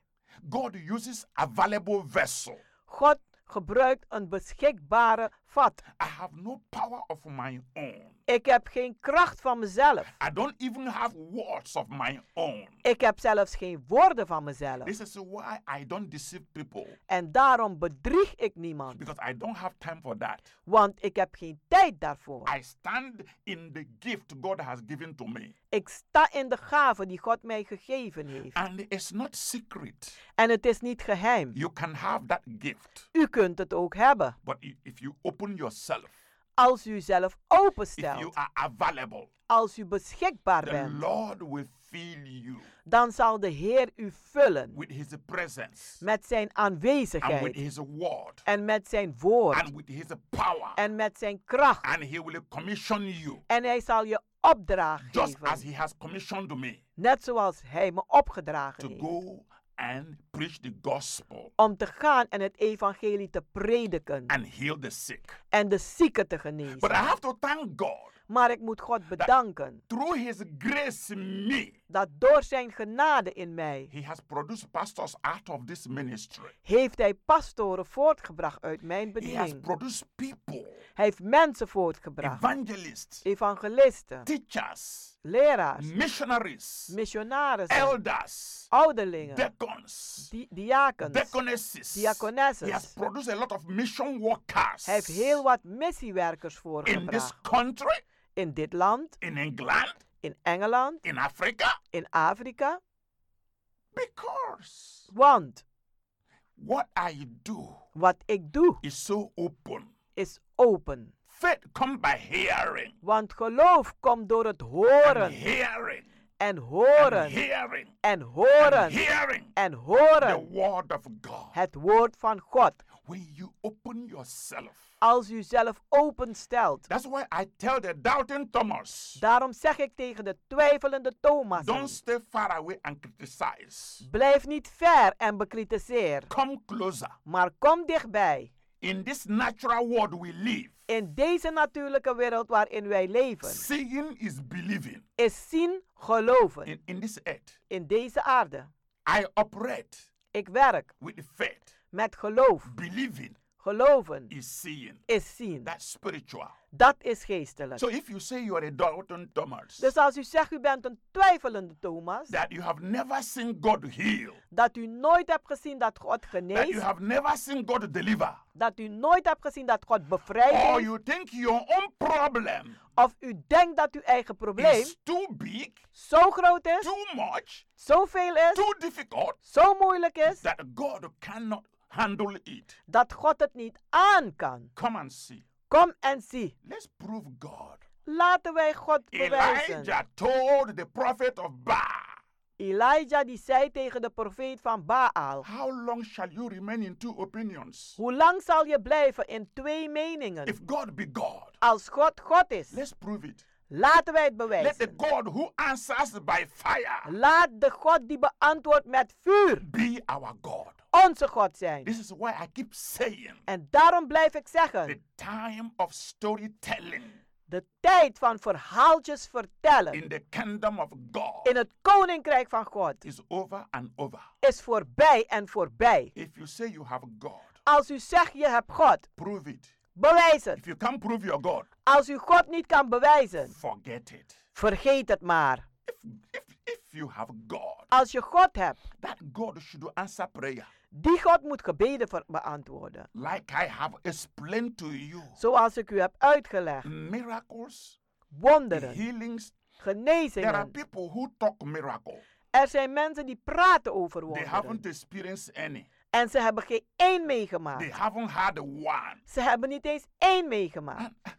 J: God uses available vessel.
K: God gebruikt een beschikbare vat.
J: I have no power of my own.
K: Ik heb geen kracht van mezelf.
J: I don't even have words of my own.
K: Ik heb zelfs geen woorden van mezelf.
J: This is why I don't deceive people
K: En daarom bedrieg ik niemand,
J: because I don't have time for that.
K: want ik heb geen tijd daarvoor.
J: I stand in the gift God has given to me.
K: Ik sta in de gave die God mij gegeven heeft.
J: And it's not secret.
K: En het is niet geheim.
J: You can have that gift.
K: U kunt het ook hebben
J: But i- if you open yourself,
K: als u zelf
J: if you
K: openstelt,
J: are available,
K: als u beschikbaar
J: the
K: bent.
J: Lord will fill you
K: Dan zal de Heer u vullen
J: with His presence
K: met zijn
J: and with
K: aanwezigheid
J: His word
K: en met zijn woord
J: and with His power.
K: en met zijn kracht.
J: And He will commission you
K: En hij zal je opdracht
J: just as
K: geven,
J: He has commissioned me
K: net zoals hij me
J: to
K: opgedragen heeft,
J: go and preach the gospel
K: om te gaan en het evangelie te prediken.
J: and heal the sick.
K: en de zieken te
J: But I
K: genezen.
J: have to thank God
K: Maar ik moet God bedanken.
J: Through his grace in me,
K: dat door zijn genade in mij
J: he has produced pastors out of this ministry.
K: heeft hij pastoren voortgebracht uit mijn
J: He uh, has
K: bediening.
J: produced people,
K: Hij heeft mensen voortgebracht.
J: evangelists,
K: Evangelisten,
J: teachers,
K: leraars,
J: missionaries,
K: missionarissen,
J: elders,
K: ouderlingen,
J: deacons,
K: di- diakens,
J: deaconesses. He has
K: diaconesses.
J: produced a lot of mission workers
K: Hij heeft heel wat missiewerkers
J: in this
K: voortgebracht.
J: country,
K: In dit land,
J: in England,
K: in Engeland,
J: in Africa,
K: in Afrika.
J: because
K: Want
J: what I do
K: wat ik doe
J: is so open.
K: is open.
J: Faith come by hearing,
K: Want geloof komt door het
J: and
K: horen
J: hearing,
K: en
J: and
K: horen
J: hearing,
K: en
J: and
K: horen
J: hearing
K: en
J: the
K: horen
J: word of God.
K: het woord van God.
J: When you open yourself,
K: Als u zelf openstelt.
J: that's why I tell the doubting Thomas,
K: Daarom zeg ik tegen de twijfelende
J: don't
K: Thomas.
J: stay far away and criticize.
K: Blijf niet ver en bekritiseer.
J: Come closer.
K: Maar kom dichtbij.
J: In this natural world we live,
K: In deze natuurlijke wereld waarin wij leven.
J: seeing is believing.
K: Is zien geloven.
J: In, in this earth,
K: In deze aarde.
J: I operate
K: Ik werk
J: with faith.
K: met geloof.
J: Believing
K: Geloven
J: is seeing.
K: is zien.
J: That's spiritual.
K: Dat is geestelijk.
J: So if you say you are a doubting Thomas,
K: Dus als u zegt u bent een twijfelende Thomas,
J: that you have never seen God heal,
K: dat u nooit hebt gezien dat God
J: that you
K: geneest,
J: have never seen God deliver,
K: dat u nooit hebt gezien dat God bevrijdt,
J: or
K: heeft,
J: you think your own problem
K: of u denkt dat uw eigen probleem
J: is too big,
K: zo groot is,
J: too much,
K: zoveel is,
J: too difficult,
K: zo moeilijk is,
J: that God cannot handle it,
K: dat God het niet aan kan.
J: come and see.
K: Kom en zie.
J: Let's prove God.
K: Laten wij God bewijzen.
J: Elijah told the prophet of Baal,
K: Elijah die zei tegen de profeet van Baal,
J: How long shall you remain in two opinions?
K: hoe lang zal je blijven in twee meningen?
J: If God be God,
K: Als God God is,
J: let's prove it.
K: laten wij het
J: Let the
K: bewijzen.
J: God who answers by fire
K: Laat de God die beantwoordt met vuur
J: be our God.
K: onze God zijn.
J: This is why I keep saying
K: En daarom blijf ik
J: the
K: zeggen,
J: time of storytelling
K: de tijd van verhaaltjes vertellen
J: in the kingdom of God
K: in het koninkrijk van God
J: is over and over.
K: is voorbij en voorbij.
J: If you say you have God,
K: Als u zegt je hebt God,
J: prove it.
K: bewijs het.
J: If you can't prove your God,
K: Als u God niet kan bewijzen,
J: forget it.
K: vergeet het maar.
J: If, if, if you have God,
K: Als je God hebt,
J: that God should answer prayer
K: die God moet gebeden ver- beantwoorden.
J: like I have explained to you.
K: Zoals ik u heb uitgelegd.
J: Miracles,
K: Wonderen,
J: healings. There are
K: genezingen.
J: people who talk miracle.
K: Er zijn mensen die praten over
J: They
K: wonderen.
J: haven't experienced any.
K: En ze hebben geen één
J: They
K: meegemaakt.
J: haven't had one.
K: Ze hebben niet eens één meegemaakt.
J: Ah.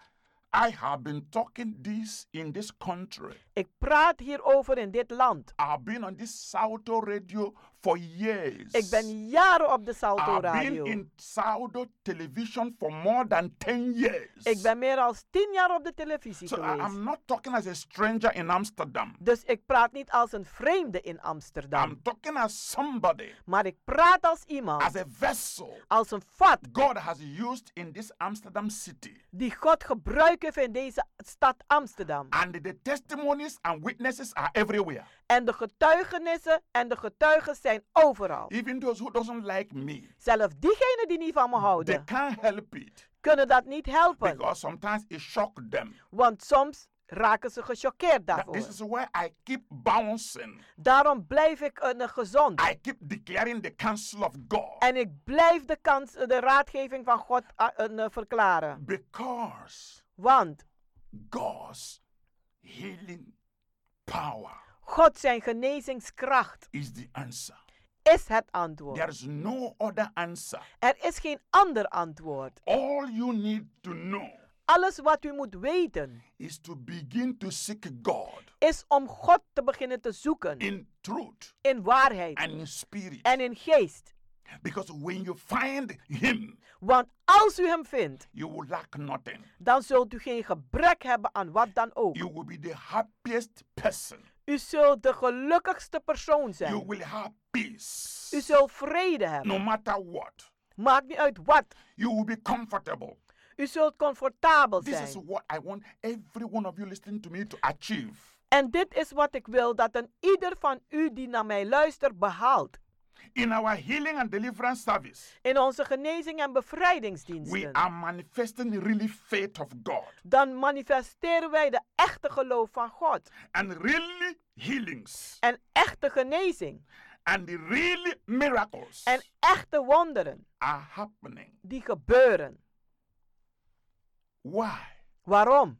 J: I have been talking this in this country.
K: Ik praat hierover in dit land.
J: I've been on this Sauto radio for years.
K: Ik ben jaren op de Salto
J: I've
K: Radio.
J: been Ah, in Saudo television for more than 10 years.
K: Ik ben meer dan tien jaar op de televisie
J: so I,
K: geweest.
J: am not talking as a stranger in Amsterdam.
K: Dus ik praat niet als een vreemde in
J: I'm
K: Amsterdam.
J: talking as somebody,
K: Maar ik praat als
J: as
K: iemand,
J: a vessel
K: als een vat
J: God has used in this Amsterdam city.
K: die God gebruikt heeft in deze stad Amsterdam.
J: And the testimonies and witnesses are everywhere.
K: En de getuigenissen en de getuigen zijn overal.
J: Even those who doesn't like me,
K: Zelfs diegenen die niet van me
J: they
K: houden,
J: can't help it.
K: kunnen dat niet helpen.
J: Because sometimes it shocks them.
K: Want soms raken ze gechoqueerd
J: That
K: daarvoor.
J: this is why I keep bouncing.
K: Daarom blijf ik een eh, gezond.
J: I keep declaring the counsel of God.
K: En ik blijf de, kans, eh, de raadgeving van God ah, eh, eh, verklaren.
J: Because
K: Want
J: God's healing power
K: God zijn genezingskracht
J: is the answer.
K: is het antwoord.
J: There is no other answer.
K: Er is geen ander antwoord.
J: All you need to know
K: Alles wat u moet weten
J: is to begin to seek God
K: is om God te beginnen te zoeken
J: in truth
K: in waarheid
J: and in spirit.
K: en in geest.
J: Because when you find Him,
K: Want als u hem vindt,
J: you will lack nothing.
K: dan zult u geen gebrek hebben aan wat dan ook.
J: You will be the happiest person.
K: U zult de gelukkigste persoon
J: You
K: zijn.
J: will have peace.
K: U zult vrede hebben.
J: No matter what,
K: Maakt niet uit wat.
J: you will be comfortable.
K: U zult comfortabel
J: This
K: zijn.
J: is what I want every one of you listening to me to achieve.
K: En dit is wat ik wil dat een ieder van u die naar mij luistert behaalt.
J: In our healing and deliverance service,
K: In onze genezing en
J: we
K: bevrijdingsdiensten.
J: are manifesting really faith of God
K: Dan manifesteren wij de echte geloof van God.
J: and really healings
K: En echte genezing.
J: and the really miracles
K: En echte wonderen
J: are happening.
K: die gebeuren.
J: Why?
K: Waarom?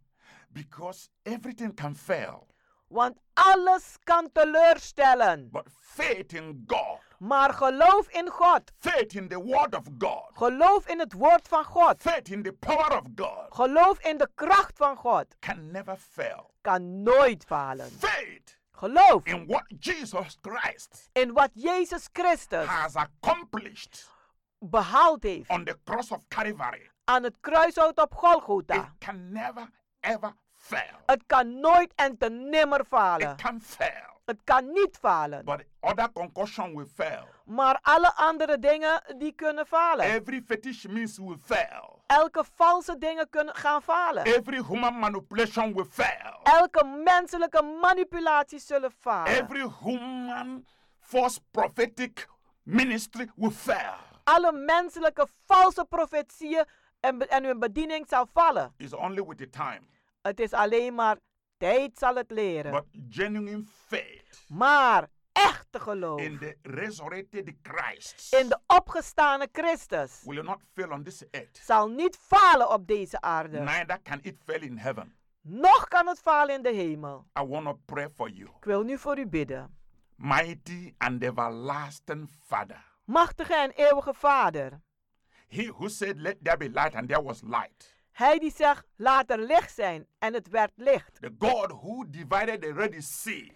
J: Because everything can fail,
K: Want alles kan teleurstellen.
J: but faith in God,
K: Maar geloof in God.
J: faith in the word of God,
K: Geloof in het woord van God.
J: faith in the power of God
K: Geloof in de kracht van God.
J: can never fail.
K: Kan nooit falen.
J: Faith
K: Geloof
J: in what Jesus Christ
K: in wat Jezus Christus
J: has accomplished
K: behaald heeft
J: on the cross of Calvary.
K: aan het kruishout op
J: It
K: Golgotha.
J: can never ever fail.
K: Het kan nooit en te nimmer falen.
J: It can fail,
K: Het kan niet falen.
J: but other concussion will fail.
K: Maar alle andere dingen die kunnen falen.
J: Every fetish means will fail.
K: Elke valse dingen kunnen gaan falen.
J: Every human manipulation will fail.
K: Elke menselijke manipulatie zullen falen.
J: Every human false prophetic ministry will fail.
K: Alle menselijke valse profetieën en, be- en hun bediening zal vallen.
J: It's only with the time.
K: Het is alleen maar tijd zal het leren.
J: But genuine faith
K: Maar echte geloof
J: in the resurrected Christ
K: in de opgestane Christus
J: will not fail on this earth.
K: zal niet falen op deze aarde.
J: Neither can it fail in heaven.
K: Nog kan het falen in de hemel.
J: I want to pray for you.
K: Ik wil nu voor u bidden.
J: Mighty and everlasting Father,
K: Machtige en eeuwige Vader,
J: He who said, Let there be light, and there was light.
K: Hij die zegt, laat er licht zijn en het werd licht.
J: The God who divided the Red Sea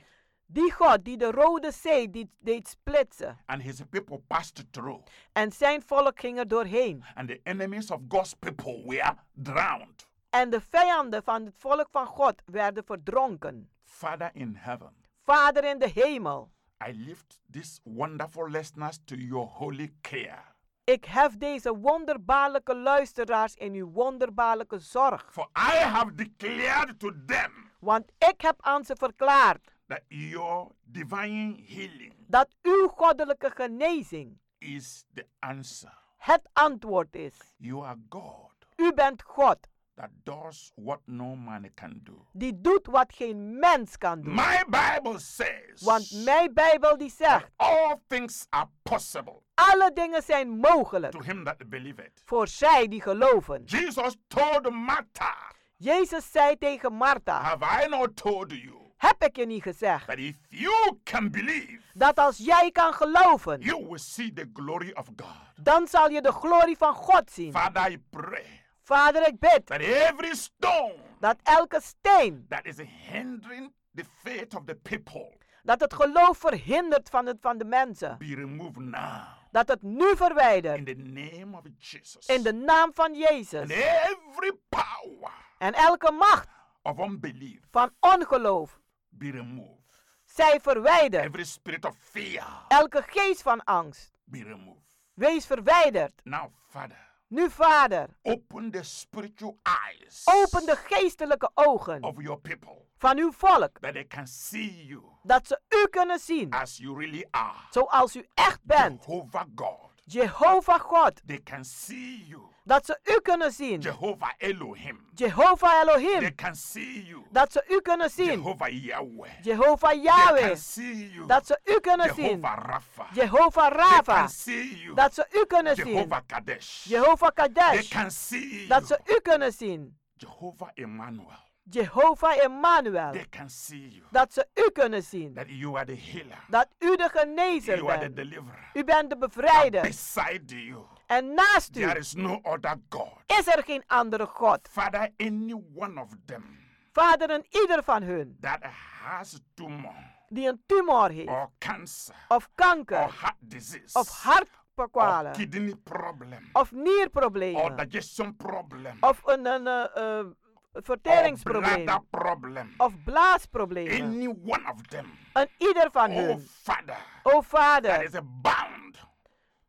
K: Die God die de rode zee die deed splitsen.
J: and his people passed through,
K: En zijn volk ging er doorheen.
J: and the enemies of God's people were drowned.
K: En de vijanden van het volk van God werden verdronken.
J: Father in heaven,
K: Vader in de hemel,
J: I lift these wonderful listeners to your holy care.
K: ik hef deze wonderbaarlijke luisteraars in uw wonderbaarlijke zorg.
J: For I have declared to them
K: Want ik heb aan ze verklaard
J: that your divine healing
K: dat uw goddelijke genezing
J: is the answer.
K: het antwoord is.
J: You are God
K: U bent God
J: that does what no man can do.
K: die doet wat geen mens kan doen.
J: My Bible says
K: Want mijn Bijbel die zegt,
J: all things are possible
K: alle dingen zijn mogelijk
J: to him that believeth.
K: voor zij die geloven.
J: Jesus told Martha,
K: Jezus zei tegen Martha,
J: Have I not told you
K: heb ik je niet gezegd
J: that if you can believe,
K: dat als jij kan geloven,
J: you will see the glory of God?
K: dan zal je de glorie van God zien.
J: Father, I pray
K: Vader, ik bid
J: that every stone
K: dat elke steen,
J: that is hindering the faith of the people
K: dat het geloof verhindert van, het, van de mensen,
J: be removed now
K: dat het nu
J: in
K: verwijdert
J: the name of Jesus.
K: in de naam van
J: and
K: Jezus.
J: every power
K: En elke macht
J: of unbelief
K: van ongeloof,
J: be removed.
K: zij verwijderd.
J: Every spirit of fear
K: Elke geest van angst,
J: be removed.
K: wees verwijderd.
J: Now, Father,
K: Nu, Vader,
J: open the spiritual eyes
K: Open de geestelijke ogen
J: of your people
K: van uw volk,
J: that they can see you
K: dat ze u kunnen zien
J: as you really are.
K: zoals u echt bent.
J: Jehovah God.
K: Jehovah God,
J: They can see you.
K: dat ze u kunnen zien.
J: Jehovah Elohim.
K: Jehovah
J: They
K: Elohim,
J: can see you.
K: dat ze u kunnen zien.
J: Jehovah Yahweh.
K: Jehovah
J: They can
K: Mm. Yahweh,
J: see you.
K: dat ze u kunnen zien.
J: Jehovah Rapha.
K: Jehovah
J: They can
K: Rava,
J: see you.
K: dat ze u kunnen zien.
J: Jehovah Kadesh.
K: Jehovah
J: They
K: Kadesh,
J: can see
K: dat
J: you.
K: ze u kunnen zien.
J: Jehovah Emmanuel.
K: Jehovah Emmanuel,
J: They can see you.
K: dat ze u kunnen zien.
J: That you are the healer.
K: Dat u de genezer
J: You are the
K: bent.
J: deliverer.
K: U bent
J: That
K: de bevrijder.
J: beside you,
K: En naast u
J: there is no other God.
K: is er geen andere God.
J: Father, any one of them
K: Vader, en ieder van hun
J: that has tumor
K: die een tumor heeft,
J: or cancer
K: of
J: or
K: kanker,
J: heart disease
K: of
J: or
K: hartkwalen,
J: kidney problem
K: of
J: or
K: nierproblemen,
J: digestion problem
K: of een, een eh, eh,
J: or
K: verteringsprobleem,
J: bladder problem,
K: of blaasproblemen.
J: any one of them,
K: En ieder van
J: oh
K: hun,
J: Father,
K: o
J: that
K: Vader,
J: is bound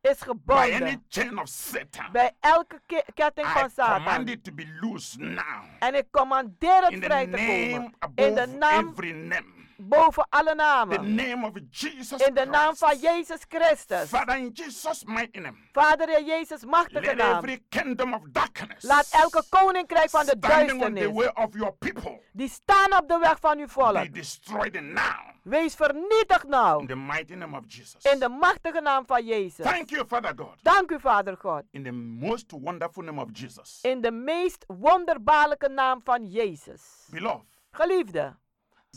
K: is
J: by
K: gebonden
J: any chain of Satan.
K: bij elke ke- ketting
J: I
K: van
J: command
K: Satan.
J: it to be loose now.
K: En ik commandeer
J: In
K: het
J: the
K: vrij te
J: name
K: komen. In de
J: above
K: naam,
J: every name.
K: boven alle
J: The
K: namen.
J: name of Jesus
K: In de naam van Jezus Christus.
J: Father, in Jesus' mighty name.
K: Vader in Jezus machtige
J: Let
K: naam.
J: every kingdom of darkness
K: Laat elke koninkrijk van de
J: standing on the way
K: duisternis.
J: of your people
K: Die staan op de weg van uw volk.
J: be destroyed now.
K: Wees vernietigd
J: In
K: nou.
J: the mighty name of Jesus.
K: In de machtige naam van Jezus.
J: Thank you, Father God.
K: Dank u Vader God.
J: In the most wonderful name of Jesus.
K: In de meest wonderbaarlijke naam van Jezus.
J: Beloved,
K: Geliefde,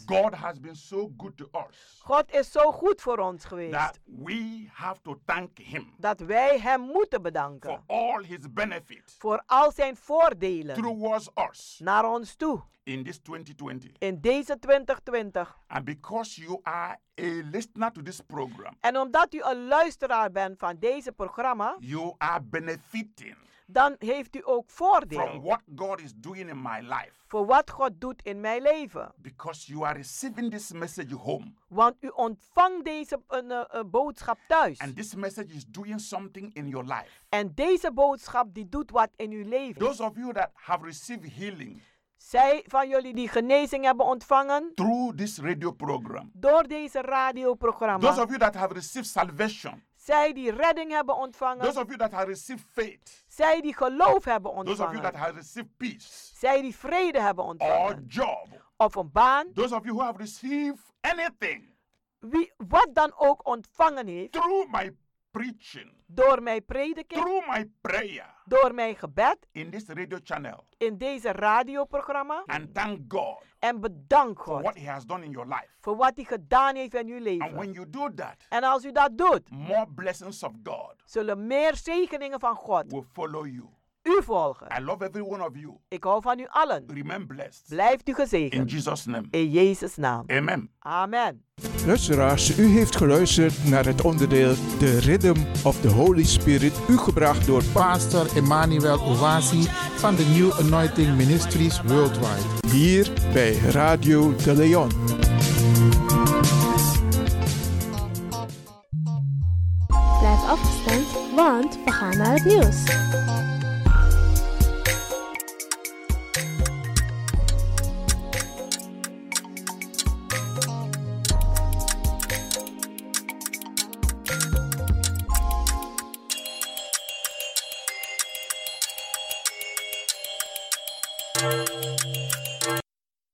J: God has been so good to us
K: God is zo goed voor ons geweest.
J: that we have to thank Him
K: Dat wij Hem moeten bedanken.
J: all His benefit
K: Voor al zijn voordelen.
J: towards us
K: Naar ons toe.
J: in this 2020.
K: In deze 2020.
J: And because you are a listener to this program,
K: En omdat u een luisteraar bent van deze programma.
J: you are benefiting
K: Dan heeft u ook
J: from
K: voordeel.
J: what God is doing in my life
K: Voor wat God doet in mijn leven.
J: because you are receiving this message home.
K: Want u ontvangt deze eh, eh, eh, boodschap thuis.
J: And this message is doing something in your life.
K: En deze boodschap die doet wat in uw leven.
J: Those of you that have received healing
K: Zij van jullie die genezing hebben ontvangen
J: through this radio program,
K: door deze
J: those
K: radioprogramma.
J: of you that have received salvation,
K: Zij die redding hebben
J: those
K: ontvangen.
J: of you that have received faith,
K: Zij die geloof hebben
J: those of you that
K: ontvangen.
J: have received peace
K: Zij die vrede hebben
J: or
K: ontvangen.
J: job,
K: Of een baan.
J: those of you who have received anything
K: Wie wat dan ook ontvangen heeft.
J: through my preaching,
K: Door mijn prediking.
J: through my prayer
K: Door mijn gebed.
J: in this radio channel.
K: In deze radioprogramma.
J: And thank God
K: En bedank
J: for
K: God
J: what He has done in your life.
K: voor wat hij gedaan heeft in uw
J: And when
K: leven.
J: you do that,
K: En als u dat doet,
J: more blessings of God
K: zullen meer zegeningen van God
J: will follow you.
K: u volgen.
J: I love every one of you.
K: Ik hou van u allen.
J: Remain blessed.
K: Blijft u gezegend.
J: In Jesus' name.
K: In Jezus' naam.
J: Amen.
K: Amen.
M: Luisteraars, u heeft geluisterd naar het onderdeel The Rhythm of the Holy Spirit, u gebracht door
B: Pastor Emmanuel Owasi van de New Anointing Ministries Worldwide.
M: hier bij Radio de Leon.
N: Blijf afgestemd, want we gaan naar het nieuws.